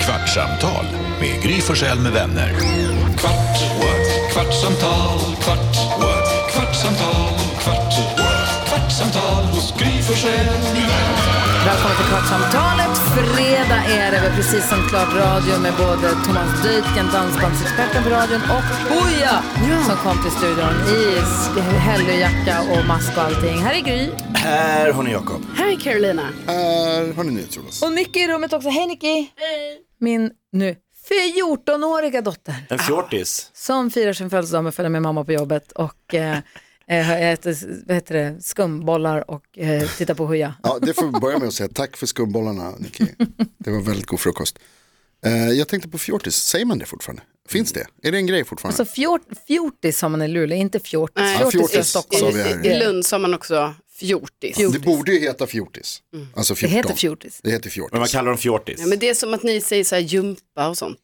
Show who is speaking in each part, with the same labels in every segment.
Speaker 1: Kvartsamtal med Gry Forssell med vänner.
Speaker 2: Kvart, what? kvartsamtal, kvart, what? kvartsamtal, kvart, what? kvartsamtal hos Gry Forssell med vänner.
Speaker 3: Välkommen till Kvartsamtalet. Fredag är det. Vi har precis sänt klart radio med både Thomas Dytken, dansbandsexperten på radion, och Boja som kom till studion i s- hellojacka och mask och allting. Här är Gry.
Speaker 4: Här har ni Jakob.
Speaker 3: Här är Carolina.
Speaker 4: Här har ni NyhetsJonas.
Speaker 3: Och Nicky i rummet också. Hej Nicky! Min nu 14-åriga dotter.
Speaker 5: En fjortis.
Speaker 3: som firar sin födelsedag med att följa med mamma på jobbet och eh, eh, äter vad heter det, skumbollar och eh, tittar på Hooja.
Speaker 4: Ja, det får vi börja med att säga. Tack för skumbollarna, Nicky. Det var väldigt god frukost. Eh, jag tänkte på fjortis, säger man det fortfarande? Finns det? Är det en grej fortfarande?
Speaker 3: Alltså fjort, fjortis sa man i Luleå, inte fjortis.
Speaker 4: Nej. Ja, fjortis
Speaker 3: är
Speaker 4: sa vi här.
Speaker 6: I, I Lund sa man också fjortis. Mm.
Speaker 4: det borde ju heta fjortis. Alltså 14.
Speaker 6: heter fjortis.
Speaker 4: Det heter fjortis.
Speaker 5: Men vad kallar de fjortis?
Speaker 6: Ja, men det är som att ni säger så här jumpa och sånt.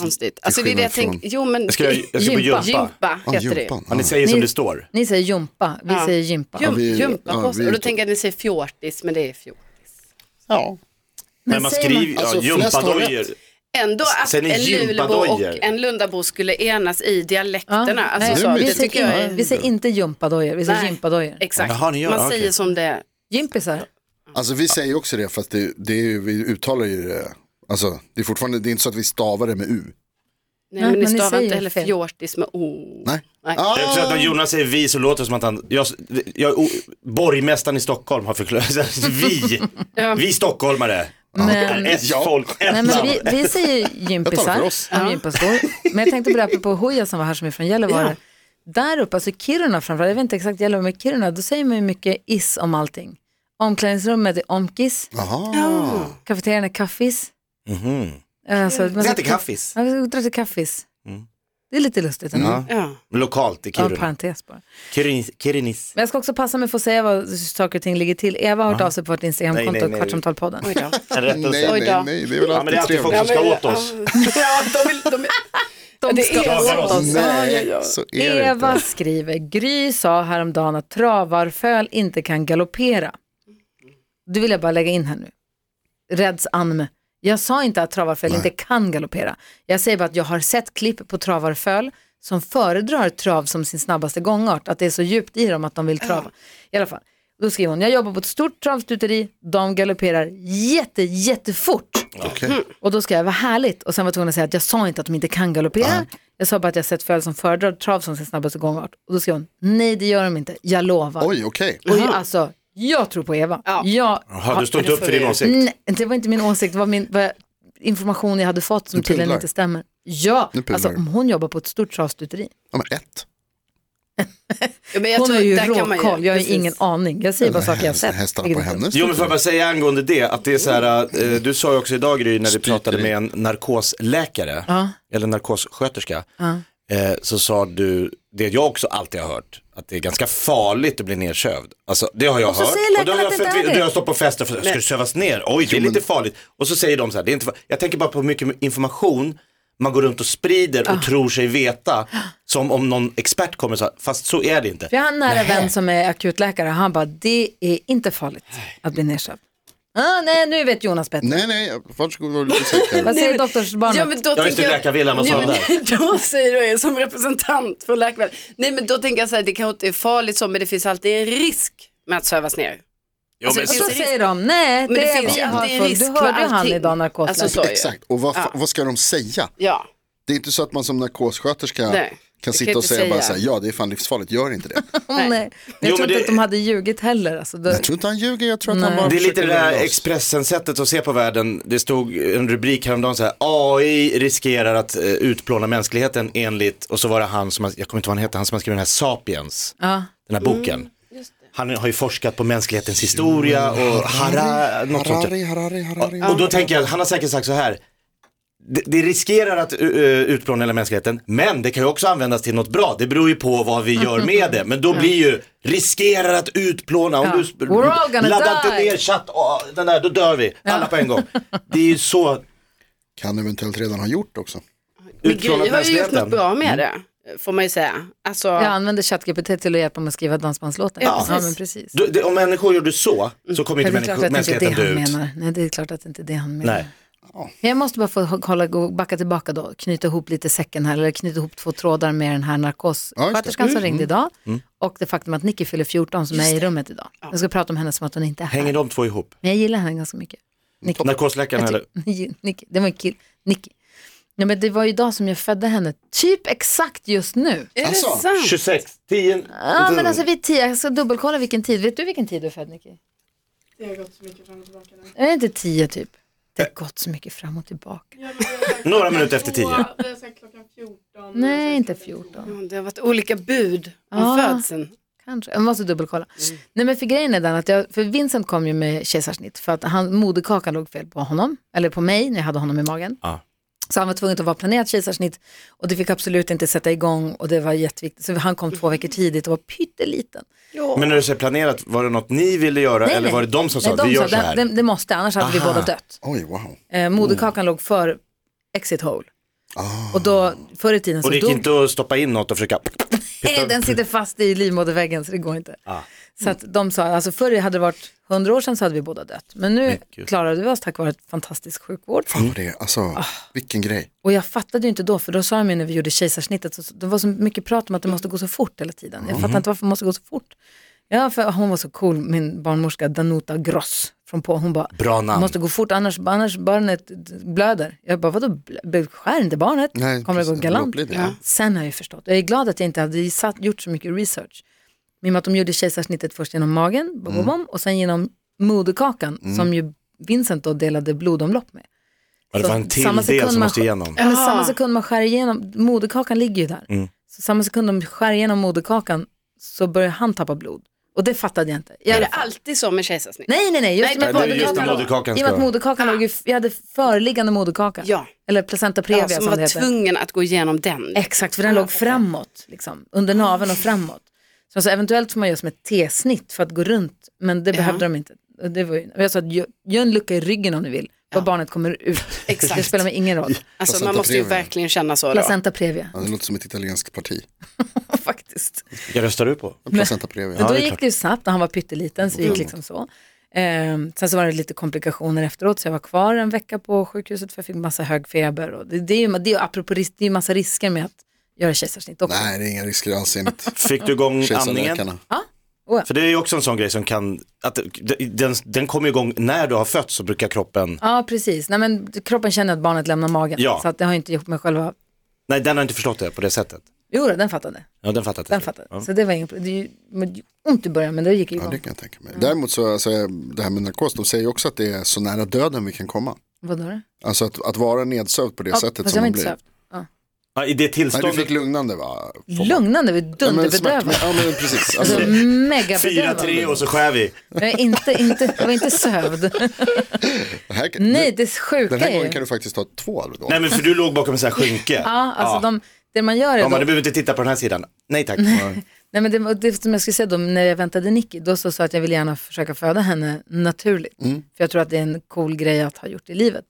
Speaker 6: Konstigt. Alltså det är det jag
Speaker 5: skillnad
Speaker 6: tänker. Jo men
Speaker 5: Jag ska- jag ska på
Speaker 6: jumpa,
Speaker 5: jumpa. Ja,
Speaker 6: heter
Speaker 5: jumpan,
Speaker 6: det.
Speaker 5: ja. Ja, ni säger som Ni- det står.
Speaker 3: Ni säger jumpa, vi
Speaker 6: Ja.
Speaker 3: säger gympa.
Speaker 6: Jum, jumpa kostar. och då tänker jag att ni säger fjortis men det är fjortis.
Speaker 4: Ja.
Speaker 5: Men man skriver, ja, gympadojor.
Speaker 6: Ändå att
Speaker 5: Sen är
Speaker 6: en Lulebo och
Speaker 5: gympadojor.
Speaker 6: en Lundabo skulle enas i dialekterna. alltså,
Speaker 3: Nej, vi,
Speaker 6: så, det
Speaker 3: säger,
Speaker 6: tycker jag
Speaker 3: inte-
Speaker 6: är...
Speaker 3: vi säger inte gympadojor, vi säger
Speaker 6: Nej,
Speaker 3: gympadojor.
Speaker 6: Exakt,
Speaker 4: Jaha, ni gör-
Speaker 6: man
Speaker 4: ja,
Speaker 6: säger
Speaker 4: okej.
Speaker 6: som det.
Speaker 3: Gympisar.
Speaker 4: Alltså vi säger också det, fast det, det är, ju- vi uttalar ju det. Alltså, det är fortfarande, det är inte så att vi stavar det med U.
Speaker 6: Nej,
Speaker 3: Nej,
Speaker 6: men ni
Speaker 3: men ni
Speaker 6: stavar
Speaker 3: säger
Speaker 6: inte heller
Speaker 3: fel.
Speaker 6: fjortis med o.
Speaker 4: Nej.
Speaker 6: Nej.
Speaker 4: Ah!
Speaker 5: Jag tror att när Jonas säger vi så låter det som att han, jag, jag, o- borgmästaren i Stockholm har förklarat, alltså, vi,
Speaker 6: Ja.
Speaker 5: vi stockholmare.
Speaker 3: Men-
Speaker 5: är ett folk, ett
Speaker 3: Nej, men
Speaker 5: land.
Speaker 3: vi, vi säger
Speaker 5: Jag talar
Speaker 3: gympisar,
Speaker 5: för oss.
Speaker 3: om
Speaker 5: Ja.
Speaker 3: gympaskor. Men jag tänkte på det här på Hooja som var här som är från Gällivare. Där uppe, alltså Kiruna framförallt, jag vet inte exakt Gällivare, men Kiruna, då säger man ju mycket is om allting. Omklädningsrummet är omkis,
Speaker 4: Jaha.
Speaker 3: kafeterian är kaffis.
Speaker 5: Mhm.
Speaker 3: Alltså,
Speaker 5: Vi
Speaker 3: man-
Speaker 5: äter kaffis.
Speaker 3: Ja, vi ska dra till kaffis.
Speaker 5: Mm.
Speaker 3: Det är lite lustigt ändå.
Speaker 5: Ja. Men Lokalt i
Speaker 3: Ja,
Speaker 5: Kiruna.
Speaker 3: parentes bara.
Speaker 5: Kirinis. Kirinis.
Speaker 3: Men jag ska också passa mig för att säga vad saker och ting ligger till. Eva har hört
Speaker 5: Ja.
Speaker 3: av sig på vårt
Speaker 5: Nej, nej,
Speaker 3: Instagramkonto,
Speaker 5: nej.
Speaker 3: Kvartsamtalpodden.
Speaker 5: Oj då. En rättelse. Nej,
Speaker 3: Oj då.
Speaker 5: nej, nej, det är väl Ja, men det är alltid alltid folk som ska trevligt. åt oss.
Speaker 6: Ja, de vill, de,
Speaker 3: de
Speaker 6: det
Speaker 3: ska åt
Speaker 6: är åt
Speaker 3: oss.
Speaker 6: oss. Ja, ja, ja.
Speaker 3: Eva skriver, Gry sa häromdagen att travarföl inte kan galoppera. Det vill jag bara lägga in här nu. Rädds anm. Jag sa inte att travarföl inte kan galoppera. Jag säger bara att jag har sett klipp på travarföl som föredrar trav som sin snabbaste gångart. Att det är så djupt i dem att de vill trava. I alla fall. Då skriver hon, jag jobbar på ett stort travstuteri, de galopperar jätte, jättefort.
Speaker 4: Okej.
Speaker 3: Och då ska jag, vad härligt. Och sen var jag tvungen att säga att jag sa inte att de inte kan galoppera. Jag sa bara att jag sett föl som föredrar trav som sin snabbaste gångart. Och då skrev hon, nej det gör de inte, jag lovar.
Speaker 4: Oj, okej.
Speaker 3: Och jag, alltså, jag tror på Eva. Ja. Jag,
Speaker 5: Jaha, du stod inte upp för din åsikt?
Speaker 3: Nej, det var inte min åsikt, det var min vad jag, information jag hade fått som
Speaker 4: Du pudlar.
Speaker 3: tydligen inte stämmer. Ja,
Speaker 4: Du pudlar.
Speaker 3: alltså om hon jobbar på ett stort travstuteri.
Speaker 4: Ja, men ett.
Speaker 6: Ja, men jag
Speaker 3: hon
Speaker 6: tror
Speaker 3: har ju
Speaker 6: där kan man ju-
Speaker 3: råkoll, jag har ju
Speaker 6: precis.
Speaker 3: ingen aning. Jag säger bara saker jag har sett. vilket är dumt.
Speaker 5: Jo men får jag bara säga angående det, att det är så här, eh, du sa ju också idag Gry när vi pratade med en narkosläkare,
Speaker 3: Ja.
Speaker 5: eller narkossköterska,
Speaker 3: Ja.
Speaker 5: eh, så sa du det jag också alltid har hört, att det är ganska farligt att bli nedsövd. Alltså det har jag
Speaker 3: Och så
Speaker 5: hört.
Speaker 3: säger
Speaker 5: och då
Speaker 3: läkaren
Speaker 5: har jag,
Speaker 3: att det
Speaker 5: fått-
Speaker 3: inte är
Speaker 5: och
Speaker 3: det.
Speaker 5: då har jag stått på fester och frågat, ska
Speaker 3: Nej.
Speaker 5: du sövas ner? Oj, det är lite farligt. Och så säger de så här, det är inte far- jag tänker bara på hur mycket information man går runt och sprider
Speaker 3: Ah.
Speaker 5: och tror sig veta, som om någon expert kommer och sa, fast så är det inte.
Speaker 3: För jag har en nära vän som är akutläkare och han bara, det är inte farligt att bli nedsövd. Ah, nej, nu vet Jonas bättre.
Speaker 4: Nej, nej, varsågod och lite säker.
Speaker 3: Vad säger doktorsbarnet?
Speaker 6: Ja, men då tänker jag- Ja, men Då säger jag som representant för läkarvärlden. Nej men då tänker jag så här, det kanske inte är farligt så, men det finns alltid en risk med att sövas ner.
Speaker 5: Jo,
Speaker 3: Alltså,
Speaker 5: men-
Speaker 3: så säger de, nej,
Speaker 6: Men
Speaker 3: det,
Speaker 6: det
Speaker 3: är
Speaker 6: finns
Speaker 3: vi
Speaker 6: ju
Speaker 3: har
Speaker 6: alltid
Speaker 3: full-
Speaker 6: risk
Speaker 3: Du
Speaker 6: med
Speaker 3: hörde ju han
Speaker 6: allting.
Speaker 3: idag, narkosläkaren.
Speaker 6: Alltså, så är det.
Speaker 4: Exakt, och vad, fa- vad ska de säga?
Speaker 6: Ja.
Speaker 4: Det är inte så att man som narkossköterska
Speaker 3: Nej,
Speaker 4: kan
Speaker 3: det kan
Speaker 4: sitta och
Speaker 3: inte
Speaker 4: säga, bara
Speaker 3: säga.
Speaker 4: så här, ja det är fan livsfarligt, gör inte det.
Speaker 3: nej. Men eh, Jag
Speaker 5: Jo,
Speaker 3: tror
Speaker 5: men
Speaker 3: inte
Speaker 5: det-
Speaker 3: att de hade ljugit heller. Alltså, då...
Speaker 4: Jag tror inte han ljuger, jag tror att han
Speaker 3: Nej.
Speaker 4: bara
Speaker 5: Det är lite
Speaker 4: försöker
Speaker 5: det där
Speaker 4: lugna oss.
Speaker 5: Expressen-sättet att se på världen. Det stod en rubrik häromdagen så här, AI riskerar att eh, utplåna mänskligheten enligt, och så var det han som, jag kommer inte ihåg vad han hette, han som har skrivit den här Sapiens,
Speaker 3: Ja.
Speaker 5: den här boken. Han har ju forskat på mänsklighetens historia
Speaker 4: Mm.
Speaker 5: och hara, något sånt.
Speaker 4: Harari, Harari, Harari.
Speaker 5: Och då tänker jag, att han har säkert sagt så här, det, det riskerar att eh, utplåna hela mänskligheten, men det kan ju också användas till något bra. Det beror ju på vad vi gör med det. Men då blir ju, riskerar att utplåna, om
Speaker 3: Ja.
Speaker 5: du sp-
Speaker 3: We're all gonna
Speaker 5: laddar
Speaker 3: die.
Speaker 5: inte ner chatt, åh, den där, då dör vi, alla på en gång. Det är ju så
Speaker 4: Kan eventuellt redan ha gjort också.
Speaker 6: Men Gry
Speaker 5: utplånat
Speaker 6: har ju gjort något
Speaker 5: mänskligheten. Mm.
Speaker 6: bra med det, får man ju säga. Alltså,
Speaker 3: Jag använder ChatGPT till att hjälpa mig att skriva dansbandslåten.
Speaker 5: Ja,
Speaker 3: Ja,
Speaker 5: precis.
Speaker 3: men precis.
Speaker 5: Du, det, om människor gjorde så, så kommer
Speaker 3: Men
Speaker 5: inte
Speaker 3: det är klart
Speaker 5: människor,
Speaker 3: att det inte är det
Speaker 5: mänskligheten dö
Speaker 3: han
Speaker 5: ut.
Speaker 3: menar. Nej, det är klart att det inte är det han menar.
Speaker 5: Nej.
Speaker 3: Jag måste bara få kolla, gå- backa tillbaka då, knyta ihop lite säcken här, eller knyta ihop två trådar med den här narkossköterskan
Speaker 5: Mm,
Speaker 3: som ringde idag och det faktum att Nicky fyller 14 som är i rummet idag. Jag ska prata om henne som att hon inte är här.
Speaker 5: Hänger de två ihop?
Speaker 3: Men jag gillar henne ganska mycket.
Speaker 5: Narkosläkaren eller?
Speaker 3: Nicky, det var en kille, Nicky. Ja, men det var ju idag som jag födde henne, typ exakt just nu.
Speaker 6: Är
Speaker 4: Alltså,
Speaker 6: det sant?
Speaker 5: 26, 10?
Speaker 3: Ja, men alltså vid tio, jag ska dubbelkolla vilken tid. Vet du vilken tid du är född Nicky? Det har gått så mycket fram och tillbaka. Är det inte tio typ? Det har gått så mycket fram och tillbaka.
Speaker 5: Några minuter efter 10.
Speaker 3: Nej, inte 14.
Speaker 6: Det har varit olika bud om
Speaker 3: Ja.
Speaker 6: födseln.
Speaker 3: Kanske. Jag måste dubbelkolla.
Speaker 5: Mm.
Speaker 3: Nej, men för grejen är den att jag, för Vincent kom ju med kejsarsnitt för att han, moderkakan låg fel på honom, eller på mig när jag hade honom i magen.
Speaker 5: Ja.
Speaker 3: Så han var tvungen att vara planerat kejsarsnitt och det fick absolut inte sätta igång och det var jätteviktigt. Så han kom två veckor tidigt och var pytteliten.
Speaker 5: Men när du säger planerat, var det något ni ville göra eller var det de som sa
Speaker 3: Nej,
Speaker 5: att vi gör så
Speaker 3: det-
Speaker 5: här?
Speaker 3: Det, det måste, annars hade vi båda dött.
Speaker 4: Oj, wow.
Speaker 3: Eh, moderkakan låg för exit hole. Och då, förr i tiden så
Speaker 5: Ah. Och det gick
Speaker 3: dog
Speaker 5: inte att stoppa in något och försöka...
Speaker 3: Nej, den sitter fast i livmoderväggen så det går inte. Så att de sa, alltså förr hade det varit 100 år sedan så hade vi båda dött. Men nu klarade vi oss tack vare ett fantastisk sjukvård.
Speaker 4: Fan vad det är, alltså vilken grej.
Speaker 3: Och jag fattade ju inte då, för då sa de ju när vi gjorde kejsarsnittet, så, det var så mycket prat om att det måste gå så fort hela tiden. Jag fattar inte varför det måste gå så fort. Ja, för hon var så cool, min barnmorska Danuta Gross från på. Hon bara,
Speaker 5: Bra namn.
Speaker 3: "Det måste gå fort annars, annars barnet blöder. Jag bara, vadå, blö- skär inte barnet?
Speaker 4: Nej,
Speaker 3: Kommer det gå
Speaker 4: precis,
Speaker 3: galant?
Speaker 4: blodblödning, ja.
Speaker 3: Sen har jag förstått, jag är glad att jag inte hade satt, gjort så mycket research. I och med att de gjorde kejsarsnittet först genom magen bom,
Speaker 5: Mm.
Speaker 3: bom, bom, och sen genom moderkakan som ju Vincent då delade blodomlopp med.
Speaker 5: Ja, det var en
Speaker 3: Så
Speaker 5: till
Speaker 3: samma
Speaker 5: del
Speaker 3: sekund
Speaker 5: som
Speaker 3: man-
Speaker 5: måste igenom. Mm.
Speaker 3: Ja, men
Speaker 6: Ah.
Speaker 3: samma sekund man skär igenom, moderkakan ligger ju där. Så samma sekund de skär igenom moderkakan så börjar han tappa blod. Och det fattade jag inte. Jag,
Speaker 6: Är det alltid så med kejsarsnitt?
Speaker 3: Nej, nej, nej. Just
Speaker 6: Nej,
Speaker 3: med
Speaker 6: det är just
Speaker 3: moderkakan.
Speaker 6: när
Speaker 5: moderkakan
Speaker 3: I och med att
Speaker 5: ska-
Speaker 3: moderkakan låg ju, jag hade föreliggande moderkaka.
Speaker 6: Ja.
Speaker 3: Eller placenta previa
Speaker 6: Ja, som
Speaker 3: som det alltså
Speaker 6: var
Speaker 3: heter.
Speaker 6: tvungen att gå igenom den.
Speaker 5: Liksom.
Speaker 3: Exakt, för den låg framåt, liksom,
Speaker 5: Ah,
Speaker 3: under naveln och framåt. Så alltså, eventuellt får man göra som ett T-snitt för att gå runt, men det behövde de inte. Och det var ju, och jag sa att gör, gör en lucka i ryggen om ni vill, var barnet kommer ut.
Speaker 6: Exakt.
Speaker 3: Det spelar mig ingen roll.
Speaker 6: Alltså man
Speaker 4: Placenta
Speaker 6: måste ju
Speaker 4: previa.
Speaker 6: verkligen känna så. Då.
Speaker 3: Placenta previa,
Speaker 4: Ja, det låter som ett italienskt parti.
Speaker 3: faktiskt.
Speaker 5: Jag röstar du på?
Speaker 4: Placenta previa.
Speaker 3: Men
Speaker 5: det
Speaker 3: då
Speaker 5: är
Speaker 3: gick
Speaker 5: klart. Mm.
Speaker 3: det ju snabbt när han var pytteliten, så det gick liksom så. Ehm, sen så var det lite komplikationer efteråt, så jag var kvar en vecka på sjukhuset för jag fick massa hög feber. Och det, det är ju det är, ju apropå, risk- det är ju massa risker med att göra kejsarsnitt också.
Speaker 4: Nej, det är inga risker alls enligt
Speaker 5: Fick du igång andningen?
Speaker 4: kejsarläkarna.
Speaker 5: För det är ju också en sån grej som kan, att den, den kommer igång när du har fött så brukar kroppen,
Speaker 3: Ja, precis. Nej, men kroppen känner att barnet lämnar magen.
Speaker 5: Ja.
Speaker 3: Så att det har inte gjort mig själva...
Speaker 5: nej den har inte förstått det på det sättet.
Speaker 3: Jo, då, den fattade.
Speaker 5: Ja den fattar
Speaker 3: Den fattade. Så det var inget problem. Det är ju men det gjorde ont i början, men det gick ju
Speaker 4: Ja,
Speaker 3: igång.
Speaker 4: det kan jag tänka mig. Däremot så, alltså, det här med narkos, de säger ju också att det är så nära döden vi kan komma.
Speaker 3: Vadå då?
Speaker 4: Alltså att, att vara nedsövd på det
Speaker 3: Ja,
Speaker 4: sättet
Speaker 3: fast
Speaker 4: som
Speaker 3: jag var
Speaker 4: man
Speaker 3: inte
Speaker 4: blir.
Speaker 3: sövd.
Speaker 5: Ja, I det
Speaker 4: Nej, du fick
Speaker 5: tillståndet,
Speaker 4: lugnande va?
Speaker 3: Lugnande, vi är
Speaker 4: Ja, men smärtme-
Speaker 3: dunderbedövade.
Speaker 4: Ja men precis. Alltså,
Speaker 3: Alltså, megabedövade.
Speaker 5: 4-3 och så skär vi.
Speaker 3: Jag, är inte, inte, jag var inte sövd.
Speaker 4: det här,
Speaker 3: Nej, det sjuka
Speaker 4: den här
Speaker 3: är
Speaker 4: gången
Speaker 3: ju...
Speaker 4: kan du faktiskt ta två Alvedon.
Speaker 5: Nej men för du låg bakom en sån här skynke.
Speaker 3: Ja, alltså De, det man gör är
Speaker 5: Ja, men du
Speaker 3: då,
Speaker 5: behöver inte titta på den här sidan. Nej tack.
Speaker 3: nej, men det, och det som jag skulle säga då, när jag väntade Nicky, då så sa jag att jag vill gärna försöka föda henne naturligt.
Speaker 5: Mm.
Speaker 3: För jag tror att det är en cool grej att ha gjort i livet.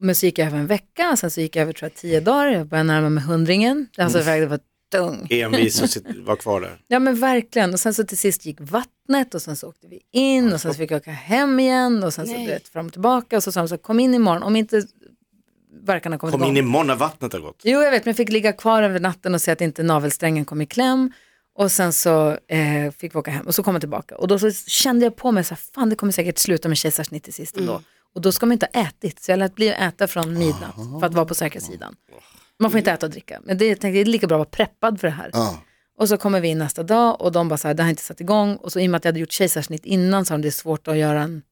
Speaker 3: Men så gick jag över en vecka, sen så gick jag över tror jag, tio dagar, jag började närma mig hundringen. Alltså mm. det var tung.
Speaker 5: Envis och sitt, var kvar där.
Speaker 3: Ja men verkligen, och sen så till sist gick vattnet och sen så åkte vi in och sen så fick jag åka hem igen och sen så du vet, fram och tillbaka och så sa de så här, kom in imorgon om inte verkarna kommit
Speaker 5: Kom
Speaker 3: igång.
Speaker 5: in imorgon när vattnet har gått.
Speaker 3: Jo, jag vet, men jag fick ligga kvar över natten och se att inte navelsträngen kom i kläm. Och sen så eh, fick vi åka hem och så kom jag tillbaka. Och då så kände jag på mig så här, fan det kommer säkert sluta med kejsarsnitt till sist ändå. Och då ska man inte ha ätit, så jag lät bli att äta från midnatt för att vara på säkra sidan. Man får inte äta och dricka, men det, jag tänkte, det är lika bra att vara preppad för det här.
Speaker 4: Ja.
Speaker 3: Och så kommer vi in nästa dag och de bara så här, det har inte satt igång. Och så i och med att jag hade gjort kejsarsnitt innan så har det är svårt att göra en,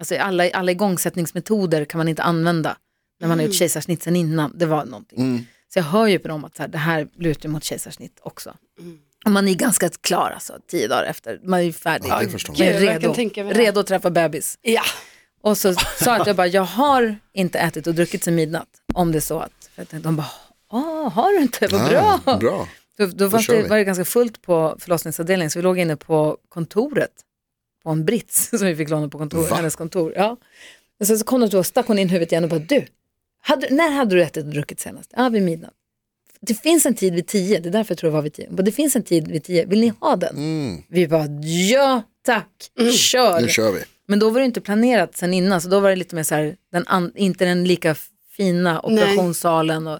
Speaker 3: alltså alla, alla igångsättningsmetoder kan man inte använda när man har
Speaker 6: Mm.
Speaker 3: gjort kejsarsnitt sen innan. Det var någonting. Så jag hör ju på dem att så här, det här lutar ju mot kejsarsnitt också.
Speaker 6: Mm.
Speaker 3: Och man är ganska klar alltså, tio dagar efter. Man är ju färdig.
Speaker 4: Ja, det förstår
Speaker 3: man är
Speaker 6: man. Gud, jag kan
Speaker 3: redo,
Speaker 6: tänka mig det.
Speaker 3: redo att träffa bebis.
Speaker 6: Ja.
Speaker 3: Och så sa jag att jag bara, jag har inte ätit och druckit sen midnatt. Om det är så att, för jag tänkte, de bara, åh, har du inte? Vad bra.
Speaker 4: Ah, bra.
Speaker 3: Då, då var,
Speaker 4: kör
Speaker 3: det,
Speaker 4: vi.
Speaker 3: var det ganska fullt på förlossningsavdelningen så vi låg inne på kontoret på en brits som vi fick låna på kontor,
Speaker 4: Va?
Speaker 3: hennes kontor. Ja. Och sen så kom de då och stack hon in huvudet igen och bara du, hade, när hade du ätit och druckit senast? Ja, vid midnatt. Det finns en tid vid tio, det är därför jag tror det var vid tio. Hon bara, Det finns en tid vid tio, vill ni ha den? Vi bara ja tack, kör.
Speaker 4: Mm. Nu kör vi.
Speaker 3: Men då var det inte planerat sen innan, så då var det lite mer så här, den an, inte den lika fina operationssalen. Och,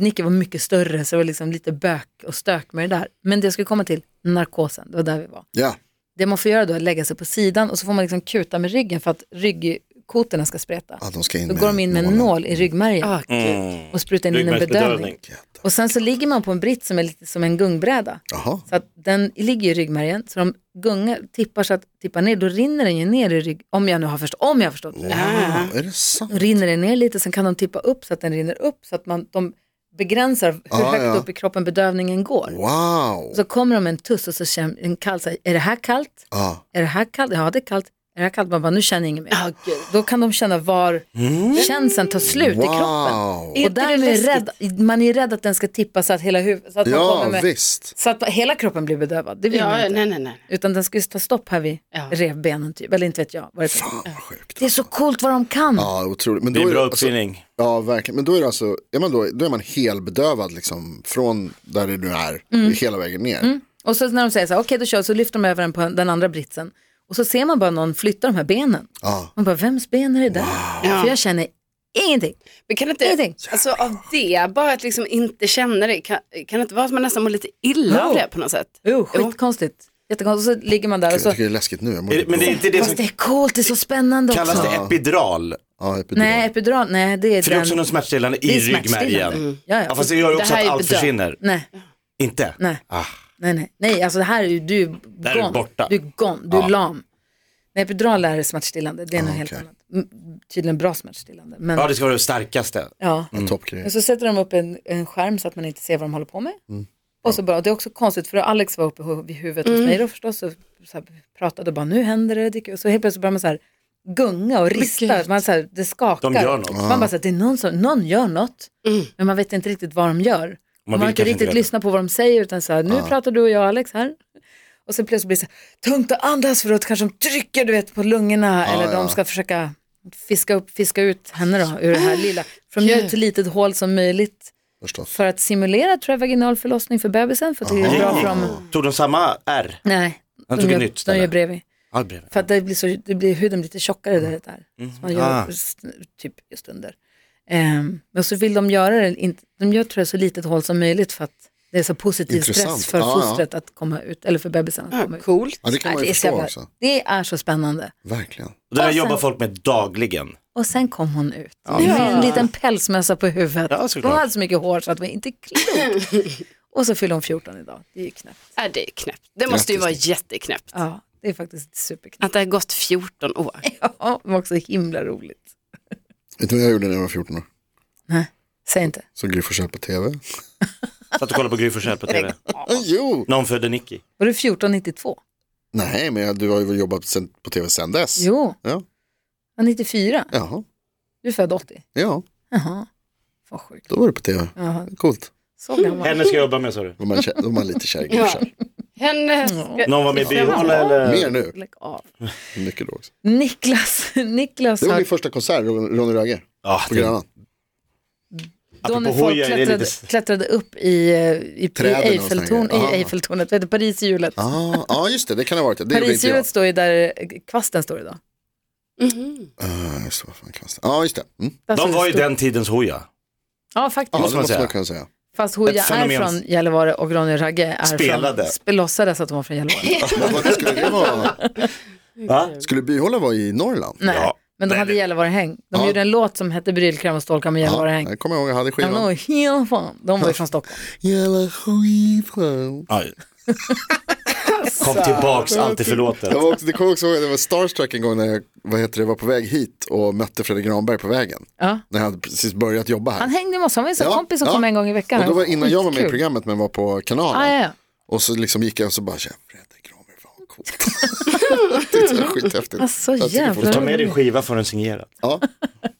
Speaker 3: Nicke var mycket större, så det var liksom lite bök och stök med det där. Men det jag skulle komma till, narkosen, det var där vi var.
Speaker 4: Ja,
Speaker 3: Det man får göra då är att lägga sig på sidan och så får man liksom kuta med ryggen för att ryggkotorna ska spreta.
Speaker 4: att ah, de ska in
Speaker 3: Då går de in med en nål i ryggmärgen
Speaker 6: Ah, gud.
Speaker 3: och sprutar in en bedövning. Och sen så ligger man på en britt som är lite som en gungbräda.
Speaker 4: Jaha,
Speaker 3: Så att den ligger i ryggmärgen, så de gungar, tippar så att tippar ner, då rinner den ju ner i rygg, om jag nu har förstått, om jag har förstått det.
Speaker 6: Ah.
Speaker 4: är det sant?
Speaker 3: Då rinner den ner lite, sen kan de tippa upp så att den rinner upp, så att man, de begränsar hur
Speaker 4: Ja,
Speaker 3: högt
Speaker 4: Ah, ja.
Speaker 3: upp i kroppen bedövningen går.
Speaker 4: Wow.
Speaker 3: Så kommer de med en tuss och så känner en kall, så här, är det här kallt?
Speaker 4: Ah.
Speaker 3: Är det här kallt? Ja, det är kallt. Är det här kallt? Man bara, nu känner jag inget mer.
Speaker 6: Ah, gud.
Speaker 3: Då kan de känna var känslan tar slut i kroppen.
Speaker 4: Mm. Wow.
Speaker 6: Är
Speaker 3: Och
Speaker 6: inte det
Speaker 3: därmed är
Speaker 6: läskigt?
Speaker 3: rädd, man är rädd att den ska tippa så att hela huvudet, så att man
Speaker 4: Ja,
Speaker 3: kommer med
Speaker 4: visst.
Speaker 3: så att hela kroppen blir bedövad, det vill man
Speaker 6: Ja,
Speaker 3: inte.
Speaker 6: nej, nej, nej.
Speaker 3: Utan den ska ju ta stopp här vid
Speaker 6: Ja.
Speaker 3: revbenen typ, eller inte vet jag. Vad det, är.
Speaker 4: Fan vad sjukt.
Speaker 3: det är så coolt vad de kan.
Speaker 4: Ja, otroligt. Men
Speaker 5: Det är
Speaker 4: då
Speaker 5: en bra
Speaker 4: alltså-
Speaker 5: uppfinning.
Speaker 4: Ja, verkligen. Men då är det alltså, är man då, då är man helbedövad liksom från där det nu är, hela vägen ner.
Speaker 3: Och så när de säger så här, okej då kör vi", så lyfter de över den på den andra britsen. Och så ser man bara någon flytta de här benen.
Speaker 4: Ja.
Speaker 3: Man bara, vems ben är det där? För jag känner ingenting.
Speaker 6: Men kan inte,
Speaker 3: Ingenting.
Speaker 6: alltså av det, bara att liksom inte känna det, kan, kan det inte vara att man nästan mår lite illa av
Speaker 3: Jo.
Speaker 6: det på något sätt?
Speaker 3: Oh, skitkonstigt. Jättekonstigt. Och så ligger man där och
Speaker 4: Jag
Speaker 3: så,
Speaker 4: tycker det är läskigt nu. Jag mår
Speaker 5: Men det är inte det som
Speaker 3: fast det är coolt, det är så spännande också.
Speaker 5: kallas det epidural.
Speaker 4: Ja, epidural. Mm.
Speaker 3: Nej, epidural, nej det är
Speaker 5: För det är
Speaker 3: den.
Speaker 5: också någon smärtstillande
Speaker 3: det
Speaker 5: i
Speaker 3: är smärtstillande.
Speaker 5: ryggmärgen.
Speaker 3: Mm. Ja,
Speaker 5: Ja
Speaker 3: ja.
Speaker 5: fast det gör ju också
Speaker 6: Det här
Speaker 5: att
Speaker 6: är
Speaker 5: allt
Speaker 6: bedö-
Speaker 5: försvinner.
Speaker 3: Nej,
Speaker 5: Inte?
Speaker 3: nej.
Speaker 5: Ah.
Speaker 3: Nej, nej, nej, alltså det här är ju, du är
Speaker 5: är du
Speaker 3: gone.
Speaker 5: borta.
Speaker 3: Du är gone, du är lam. Nej, epidural är smärtstillande, det är något helt
Speaker 4: okej.
Speaker 3: annat. M- Tydligen bra smärtstillande. Men,
Speaker 5: Ah, Ja
Speaker 3: ja,
Speaker 5: det ska vara det starkaste. Mm.
Speaker 4: En toppgrej.
Speaker 3: Men så sätter de upp en, en skärm så att man inte ser vad de håller på med.
Speaker 5: Mm.
Speaker 3: Och så bara, och det är också konstigt för Alex var uppe hu- vid huvudet hos mig då förstås och så här, pratade och bara nu händer det. det. är kul." Så helt plötsligt börjar man så här gunga och rista, man så här, det skakar.
Speaker 5: De gör något.
Speaker 3: Man bara så här, det är någon som, någon gör något, men man vet inte riktigt vad de gör. Man,
Speaker 5: vill
Speaker 3: har inte
Speaker 5: kanske inte
Speaker 3: riktigt
Speaker 5: veta.
Speaker 3: lyssnat på vad de säger utan så här, nu pratar du och jag Alex här. Och sen plötsligt blir det så här, tungt att andas för då kanske de trycker du vet på lungorna eller de ska försöka fiska upp, fiska ut henne då ur det här lilla, från nu till litet hål som möjligt.
Speaker 4: Förstås.
Speaker 3: För att simulera tror jag vaginal förlossning för bebisen för att det är bra för dem.
Speaker 5: Tog de samma R?
Speaker 3: Nej, de
Speaker 5: Han tog ett
Speaker 3: gör,
Speaker 5: nytt
Speaker 3: de
Speaker 5: ställe.
Speaker 3: gör bredvid.
Speaker 5: Ja, bredvid.
Speaker 3: För att det blir, så, det blir huden blir lite tjockare där.
Speaker 4: Mm.
Speaker 3: det där. Så man gör
Speaker 5: Ah.
Speaker 3: s- typ just under. Ehm, men så vill de göra det, inte, de gör tror jag så litet hål som möjligt för att det är så positiv
Speaker 4: Intressant. Ah,
Speaker 3: stress för
Speaker 4: Ja, ja.
Speaker 3: fostret att komma ut, eller för bebisen att komma ut.
Speaker 6: Coolt.
Speaker 4: Ja, det kan
Speaker 3: Ja,
Speaker 4: man ju
Speaker 3: är så
Speaker 4: förstå
Speaker 3: jävla-
Speaker 4: också.
Speaker 3: det är så spännande.
Speaker 4: Verkligen.
Speaker 5: Och Det där
Speaker 3: Och sen-
Speaker 5: jobbar folk med dagligen.
Speaker 3: Och sen kom hon ut med en liten pälsmössa på huvudet.
Speaker 5: Ja, såklart.
Speaker 3: hon hade så mycket hår så att det var inte klokt. och så fyller hon 14 idag. Det är ju knäppt.
Speaker 6: Är Äh, det är knäppt. Det måste ju vara jätteknäppt.
Speaker 3: Ja, det är faktiskt superknäppt.
Speaker 6: Att det har gått 14 år.
Speaker 3: Ja, men också himla roligt.
Speaker 4: Vet du vad jag gjorde när jag var 14 år?
Speaker 3: Nej, säg inte.
Speaker 4: Så Gry Forssell på tv.
Speaker 5: Satt och kollade på Gry Forssell på tv.
Speaker 4: Äh, jo!
Speaker 5: Någon födde Nicky.
Speaker 3: Var du 1492?
Speaker 4: Nej, men jag- du har ju väl jobbat sen, på tv sen dess?
Speaker 3: Jo,
Speaker 4: Ja.
Speaker 3: ja, 94.
Speaker 4: Jaha.
Speaker 3: Du är född 80.
Speaker 4: Ja,
Speaker 3: Jaha, vad sjukt.
Speaker 4: då var du på tv.
Speaker 3: Jaha,
Speaker 4: Coolt.
Speaker 3: så gammal.
Speaker 5: Henne ska jag jobba med sa du.
Speaker 4: Då var man, kä- då var man lite kär i Gry
Speaker 6: Ja.
Speaker 4: Forssell.
Speaker 6: Henne ska...
Speaker 5: Någon var med i Biola
Speaker 4: Mer
Speaker 5: eller?
Speaker 4: nu.
Speaker 3: Lägg av.
Speaker 4: Mycket då också.
Speaker 3: Niklas, Niklas
Speaker 4: Det var
Speaker 3: har,
Speaker 4: min första konsert, Ron- Ronny Röger,
Speaker 5: Ja, typ.
Speaker 4: på Grönan.
Speaker 3: då när
Speaker 4: typ
Speaker 5: apropå
Speaker 3: folk
Speaker 5: hojar, det är lite
Speaker 3: klättrade,
Speaker 5: s-
Speaker 3: klättrade upp i, eh, i, i,
Speaker 4: Träden och
Speaker 3: Eiffeltorn,
Speaker 4: sådana
Speaker 3: i
Speaker 4: grejer.
Speaker 3: Eiffeltornet, vad heter det, Parishjulet.
Speaker 4: Ja, ah, just det, det kan ha varit det. Det gjorde inte jag.
Speaker 3: Parishjulet står ju där eh, kvasten står idag.
Speaker 6: Mhm.
Speaker 4: Ah, just det, vad fan kallas det? Ja, just det. Mm.
Speaker 3: Där står
Speaker 5: De
Speaker 3: det
Speaker 5: var ju
Speaker 3: stor-
Speaker 5: den tidens hoja.
Speaker 3: Ja,
Speaker 4: Ja,
Speaker 3: faktiskt.
Speaker 4: det
Speaker 5: måste man
Speaker 4: måste man
Speaker 5: säga.
Speaker 4: kunna säga.
Speaker 3: Fast Hooja
Speaker 5: Ett
Speaker 3: är
Speaker 5: fenomen-
Speaker 3: från Gällivare och Ronny Ragge är
Speaker 5: Spelade.
Speaker 3: från, sp- låtsades att de var från Gällivare.
Speaker 4: Men vart skulle det vara?
Speaker 3: Mm.
Speaker 5: Va?
Speaker 4: Skulle Byhåla vara i Norrland?
Speaker 3: Nej,
Speaker 5: Ja.
Speaker 3: men de
Speaker 5: Nej,
Speaker 3: hade
Speaker 5: nej.
Speaker 3: Gällivare-häng. De
Speaker 4: Ja.
Speaker 3: gjorde en låt som hette Brylkräm och stålkam med Gällivare-häng.
Speaker 4: jag kommer ihåg, jag hade
Speaker 3: Ja, de
Speaker 4: skivan.
Speaker 3: var ju helt fan. De var ju från Stockholm.
Speaker 4: Jävla skivan.
Speaker 5: Aj. Kom tillbaks,
Speaker 3: Mm.
Speaker 5: alltid förlåtet.
Speaker 4: Jag var också, det kommer jag också ihåg, det var starstruck en gång när jag vad heter det, var på väg hit och mötte Fredrik Granberg på vägen.
Speaker 3: Ja.
Speaker 4: När jag hade precis börjat jobba här.
Speaker 3: Han hängde med oss, han var ju en sån
Speaker 4: Ja,
Speaker 3: kompis som
Speaker 4: ja.
Speaker 3: kom en gång i veckan.
Speaker 4: Och då var innan jag var med i
Speaker 3: Skitkul.
Speaker 4: programmet men var på kanalen.
Speaker 3: Ah, ja, ja.
Speaker 4: Och så liksom gick jag och så bara, "Tja, Fredrik Granberg, fan coolt. Tyckte det var skithäftigt.
Speaker 3: Alltså,
Speaker 4: Jag tycker
Speaker 3: jävla
Speaker 4: folk-
Speaker 5: Ta med din skiva för den signerad.
Speaker 4: Ja,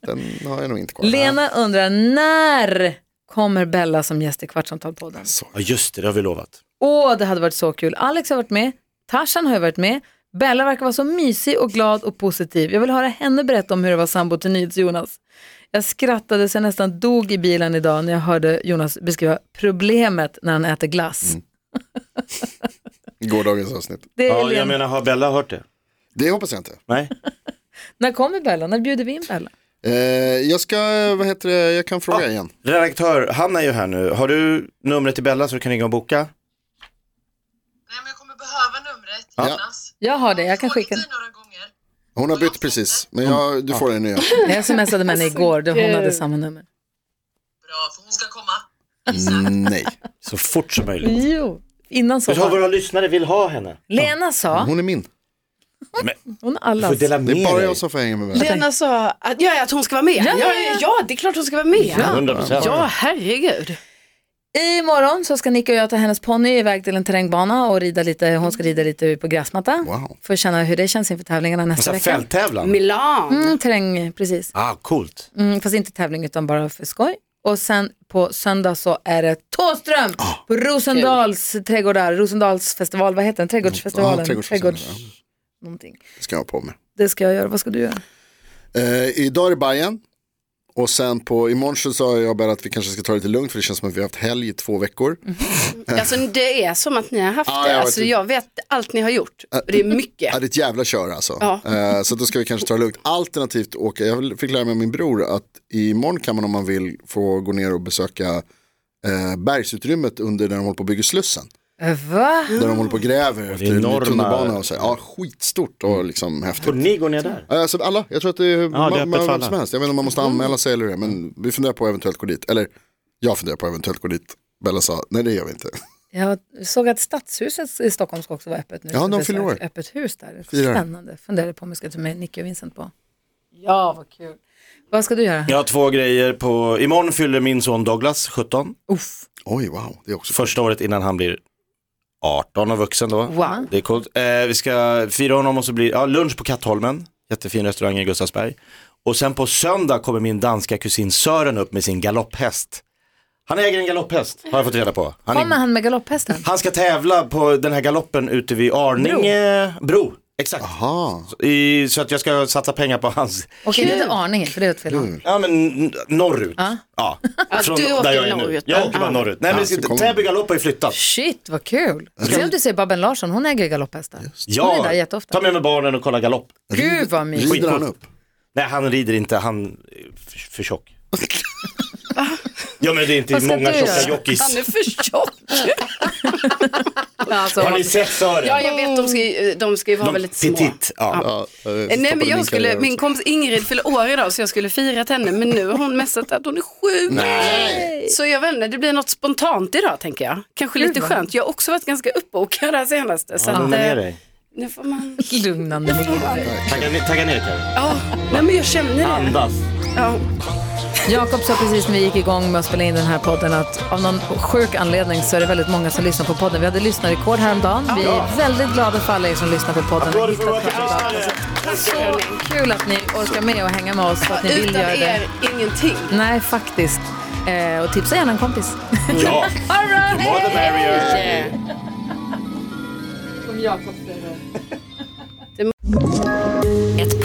Speaker 4: den har jag nog inte kvar.
Speaker 3: Lena undrar, när kommer Bella som gäst i Kvartsamtalpodden?
Speaker 5: Ja just det, det har vi lovat.
Speaker 3: Åh, det hade varit så kul. Alex har varit med, Tarzan har ju varit med, Bella verkar vara så mysig och glad och positiv. Jag vill höra henne berätta om hur det var sambo till NyhetsJonas. Jag skrattade så jag nästan dog i bilen idag när jag hörde Jonas beskriva problemet när han äter
Speaker 4: Mm.
Speaker 3: glass.
Speaker 4: Gårdagens avsnitt.
Speaker 3: Det är
Speaker 5: Ja,
Speaker 3: Lena.
Speaker 5: jag menar, har Bella hört det?
Speaker 4: Det hoppas jag inte.
Speaker 5: Nej.
Speaker 3: När kommer Bella? När bjuder vi in Bella?
Speaker 4: Eh, jag ska, vad heter det, jag kan fråga igen.
Speaker 5: Redaktör, Hanna är ju här nu. Har du numret till Bella så du kan ringa och boka?
Speaker 7: Nej, men jag kommer behöva numret,
Speaker 4: Ja.
Speaker 7: Jonas.
Speaker 3: Jag har det, jag kan
Speaker 7: Frågat
Speaker 3: skicka.
Speaker 7: dig några gånger.
Speaker 4: Hon har bytt precis, men jag, du får det nya.
Speaker 3: Jag smsade med henne igår, då hon
Speaker 6: gud.
Speaker 3: hade samma nummer.
Speaker 7: Bra, för hon ska komma.
Speaker 4: Nej,
Speaker 5: Så fort som möjligt.
Speaker 3: Jo, innan
Speaker 5: Vet du vad
Speaker 3: sommaren.
Speaker 5: våra lyssnare vill ha henne?
Speaker 3: Lena sa,
Speaker 4: hon är min.
Speaker 3: hon har
Speaker 5: Du får
Speaker 3: allas.
Speaker 5: dela
Speaker 4: Det
Speaker 5: med
Speaker 4: är bara
Speaker 5: dig.
Speaker 4: jag som får hänga med vänner.
Speaker 6: Lena sa att, ja, att hon ska vara med. Ja, ja, ja. det är klart hon ska vara med. Ja,
Speaker 5: 100%.
Speaker 6: herregud.
Speaker 3: Imorgon så ska Nick och jag ta hennes ponny iväg till en terrängbana och rida lite, hon ska rida lite på gräsmatta.
Speaker 4: Wow.
Speaker 3: Får känna hur det känns inför tävlingarna nästa
Speaker 5: Så här
Speaker 3: vecka.
Speaker 5: Fälttävlan.
Speaker 6: Milan.
Speaker 3: Mm, terräng, precis.
Speaker 5: Ah, coolt.
Speaker 3: Mm, fast inte tävling utan bara för skoj. Och sen på söndag så är det Tåström
Speaker 5: Ah,
Speaker 3: på Rosendals trädgårdar, Rosendals festival, vad heter den? Trädgårdsfestivalen?
Speaker 4: Ja, trädgårdsfestivalen,
Speaker 3: Trädgårds... Någonting.
Speaker 4: Det ska jag ha på mig.
Speaker 3: Det ska jag göra, vad ska du göra?
Speaker 4: Eh, idag är det Bayern. Och sen på imorgon så sa jag bara att vi kanske ska ta det lite lugnt för det känns som att vi har haft helg i två veckor.
Speaker 6: Alltså, det är som att ni har haft
Speaker 4: Ja,
Speaker 6: det.
Speaker 4: jag vet
Speaker 6: Alltså,
Speaker 4: inte.
Speaker 6: jag vet allt ni har gjort. Och Det är mycket.
Speaker 4: Ja, det är ett jävla kör alltså.
Speaker 6: Ja.
Speaker 4: Eh, så då ska vi kanske ta det lugnt. Alternativt åka, jag fick lära mig av min bror att imorgon kan man om man vill få gå ner och besöka eh, bergsutrymmet under när de håller på att bygga Slussen.
Speaker 3: Eh, Va?
Speaker 4: Där de håller på och gräver efter en ny
Speaker 5: enorma-
Speaker 4: tunnelbana och så. här. Ja, skitstort och liksom häftigt.
Speaker 5: Får ni gå ner där?
Speaker 4: Eh, Så alla, jag tror att det är, ma-
Speaker 5: det är öppet
Speaker 4: ma-
Speaker 5: för
Speaker 4: vem
Speaker 5: alla.
Speaker 4: som helst. Jag vet inte om man måste
Speaker 6: Mm.
Speaker 4: anmäla sig eller det, men vi funderar på att eventuellt gå dit. Eller jag funderar på att eventuellt gå dit. Bella sa, nej det gör vi inte.
Speaker 3: Jag såg att stadshuset i Stockholm ska också vara öppet nu.
Speaker 4: Ja,
Speaker 3: Så
Speaker 4: de
Speaker 3: det är
Speaker 4: fyller
Speaker 3: så här
Speaker 4: år.
Speaker 3: ett Öppet hus där,
Speaker 4: Firar.
Speaker 3: spännande. Funderar på om jag ska ta med Nicky och Vincent på. Ja, vad kul. Vad ska du göra?
Speaker 5: Jag har två grejer på, imorgon fyller min son Douglas 17,
Speaker 3: Uff.
Speaker 4: Oj, wow, det är också
Speaker 5: första året innan han blir 18 och vuxen då.
Speaker 3: Wow.
Speaker 5: Det är coolt. Eh, vi ska fira honom och så blir ja, lunch på Kattholmen, jättefin restaurang i Gustavsberg. Och sen på söndag kommer min danska kusin Sören upp med sin galopphäst. Han äger en galopphäst, har jag fått reda på. Han,
Speaker 3: Kommer
Speaker 5: är,
Speaker 3: han med galopphästen?
Speaker 5: han ska tävla på den här galoppen ute vid Arninge bro. exakt.
Speaker 4: Aha.
Speaker 5: I, så att jag ska satsa pengar på hans,
Speaker 3: Okej, det är inte Arninge, för det är åt fel håll.
Speaker 5: ja men n- norrut.
Speaker 3: Ja.
Speaker 5: Ja, från
Speaker 6: du åker
Speaker 5: där jag är nu.
Speaker 6: norrut,
Speaker 5: Jag
Speaker 6: ja.
Speaker 5: åker bara norrut. Nej men
Speaker 4: Ah, så kommer-
Speaker 5: Täby galopp har ju flyttat.
Speaker 3: Shit, vad kul. Se om du ser Babben Larsson, hon äger ju galopphästar. Hon är där
Speaker 5: Ja,
Speaker 3: jätteofta.
Speaker 5: ta med mig barnen och kolla galopp.
Speaker 3: Gud vad mysigt.
Speaker 4: Rider han
Speaker 5: Skitcoolt.
Speaker 4: upp?
Speaker 5: Nej han rider inte, han är för, för tjock. ja men det är inte
Speaker 3: Vad ska
Speaker 5: många
Speaker 3: du
Speaker 5: tjocka
Speaker 3: göra?
Speaker 6: Han
Speaker 5: jockeys.
Speaker 6: är för tjock.
Speaker 3: Alltså,
Speaker 5: Har ni sett Sören?
Speaker 6: Ja, jag vet, de ska ju, de ska ju vara
Speaker 5: De-
Speaker 6: väldigt små.
Speaker 5: petit, ja.
Speaker 4: Ja, eh,
Speaker 6: Nej,
Speaker 4: stoppade
Speaker 6: men jag skulle,
Speaker 4: karriär
Speaker 6: min
Speaker 4: också.
Speaker 6: kompis Ingrid fyller år idag så jag skulle firat henne men nu har hon messat att hon är sjuk. Så jag vet inte, det blir något spontant idag tänker jag. Kanske lite
Speaker 3: vad
Speaker 6: skönt. Jag har också varit ganska uppbokad det här senaste. så
Speaker 5: Lugna
Speaker 6: eh,
Speaker 5: ner dig.
Speaker 6: nu får man...
Speaker 3: lugnande ner dig.
Speaker 5: Tagga, ner- tagga ner Karin.
Speaker 6: Ja, nej, men jag känner det.
Speaker 5: Andas.
Speaker 6: Ja.
Speaker 3: Jakob sa precis när vi gick igång med att spela in den här podden att av någon sjuk anledning så är det väldigt många som lyssnar på podden. Vi hade lyssnarrekord häromdagen. Vi är väldigt glada för alla er som lyssnar på podden.
Speaker 5: Applåder för
Speaker 3: Hittat
Speaker 5: våra
Speaker 3: kanske idag.
Speaker 5: lyssnare.
Speaker 3: Så kul att ni orkar med och hänga med oss och att ni vill
Speaker 6: Utan
Speaker 3: göra det.
Speaker 6: er, ingenting.
Speaker 3: Nej, faktiskt. Eh, och tipsa gärna en kompis.
Speaker 5: Ja,
Speaker 3: All right.
Speaker 5: more the merrier.
Speaker 8: Ett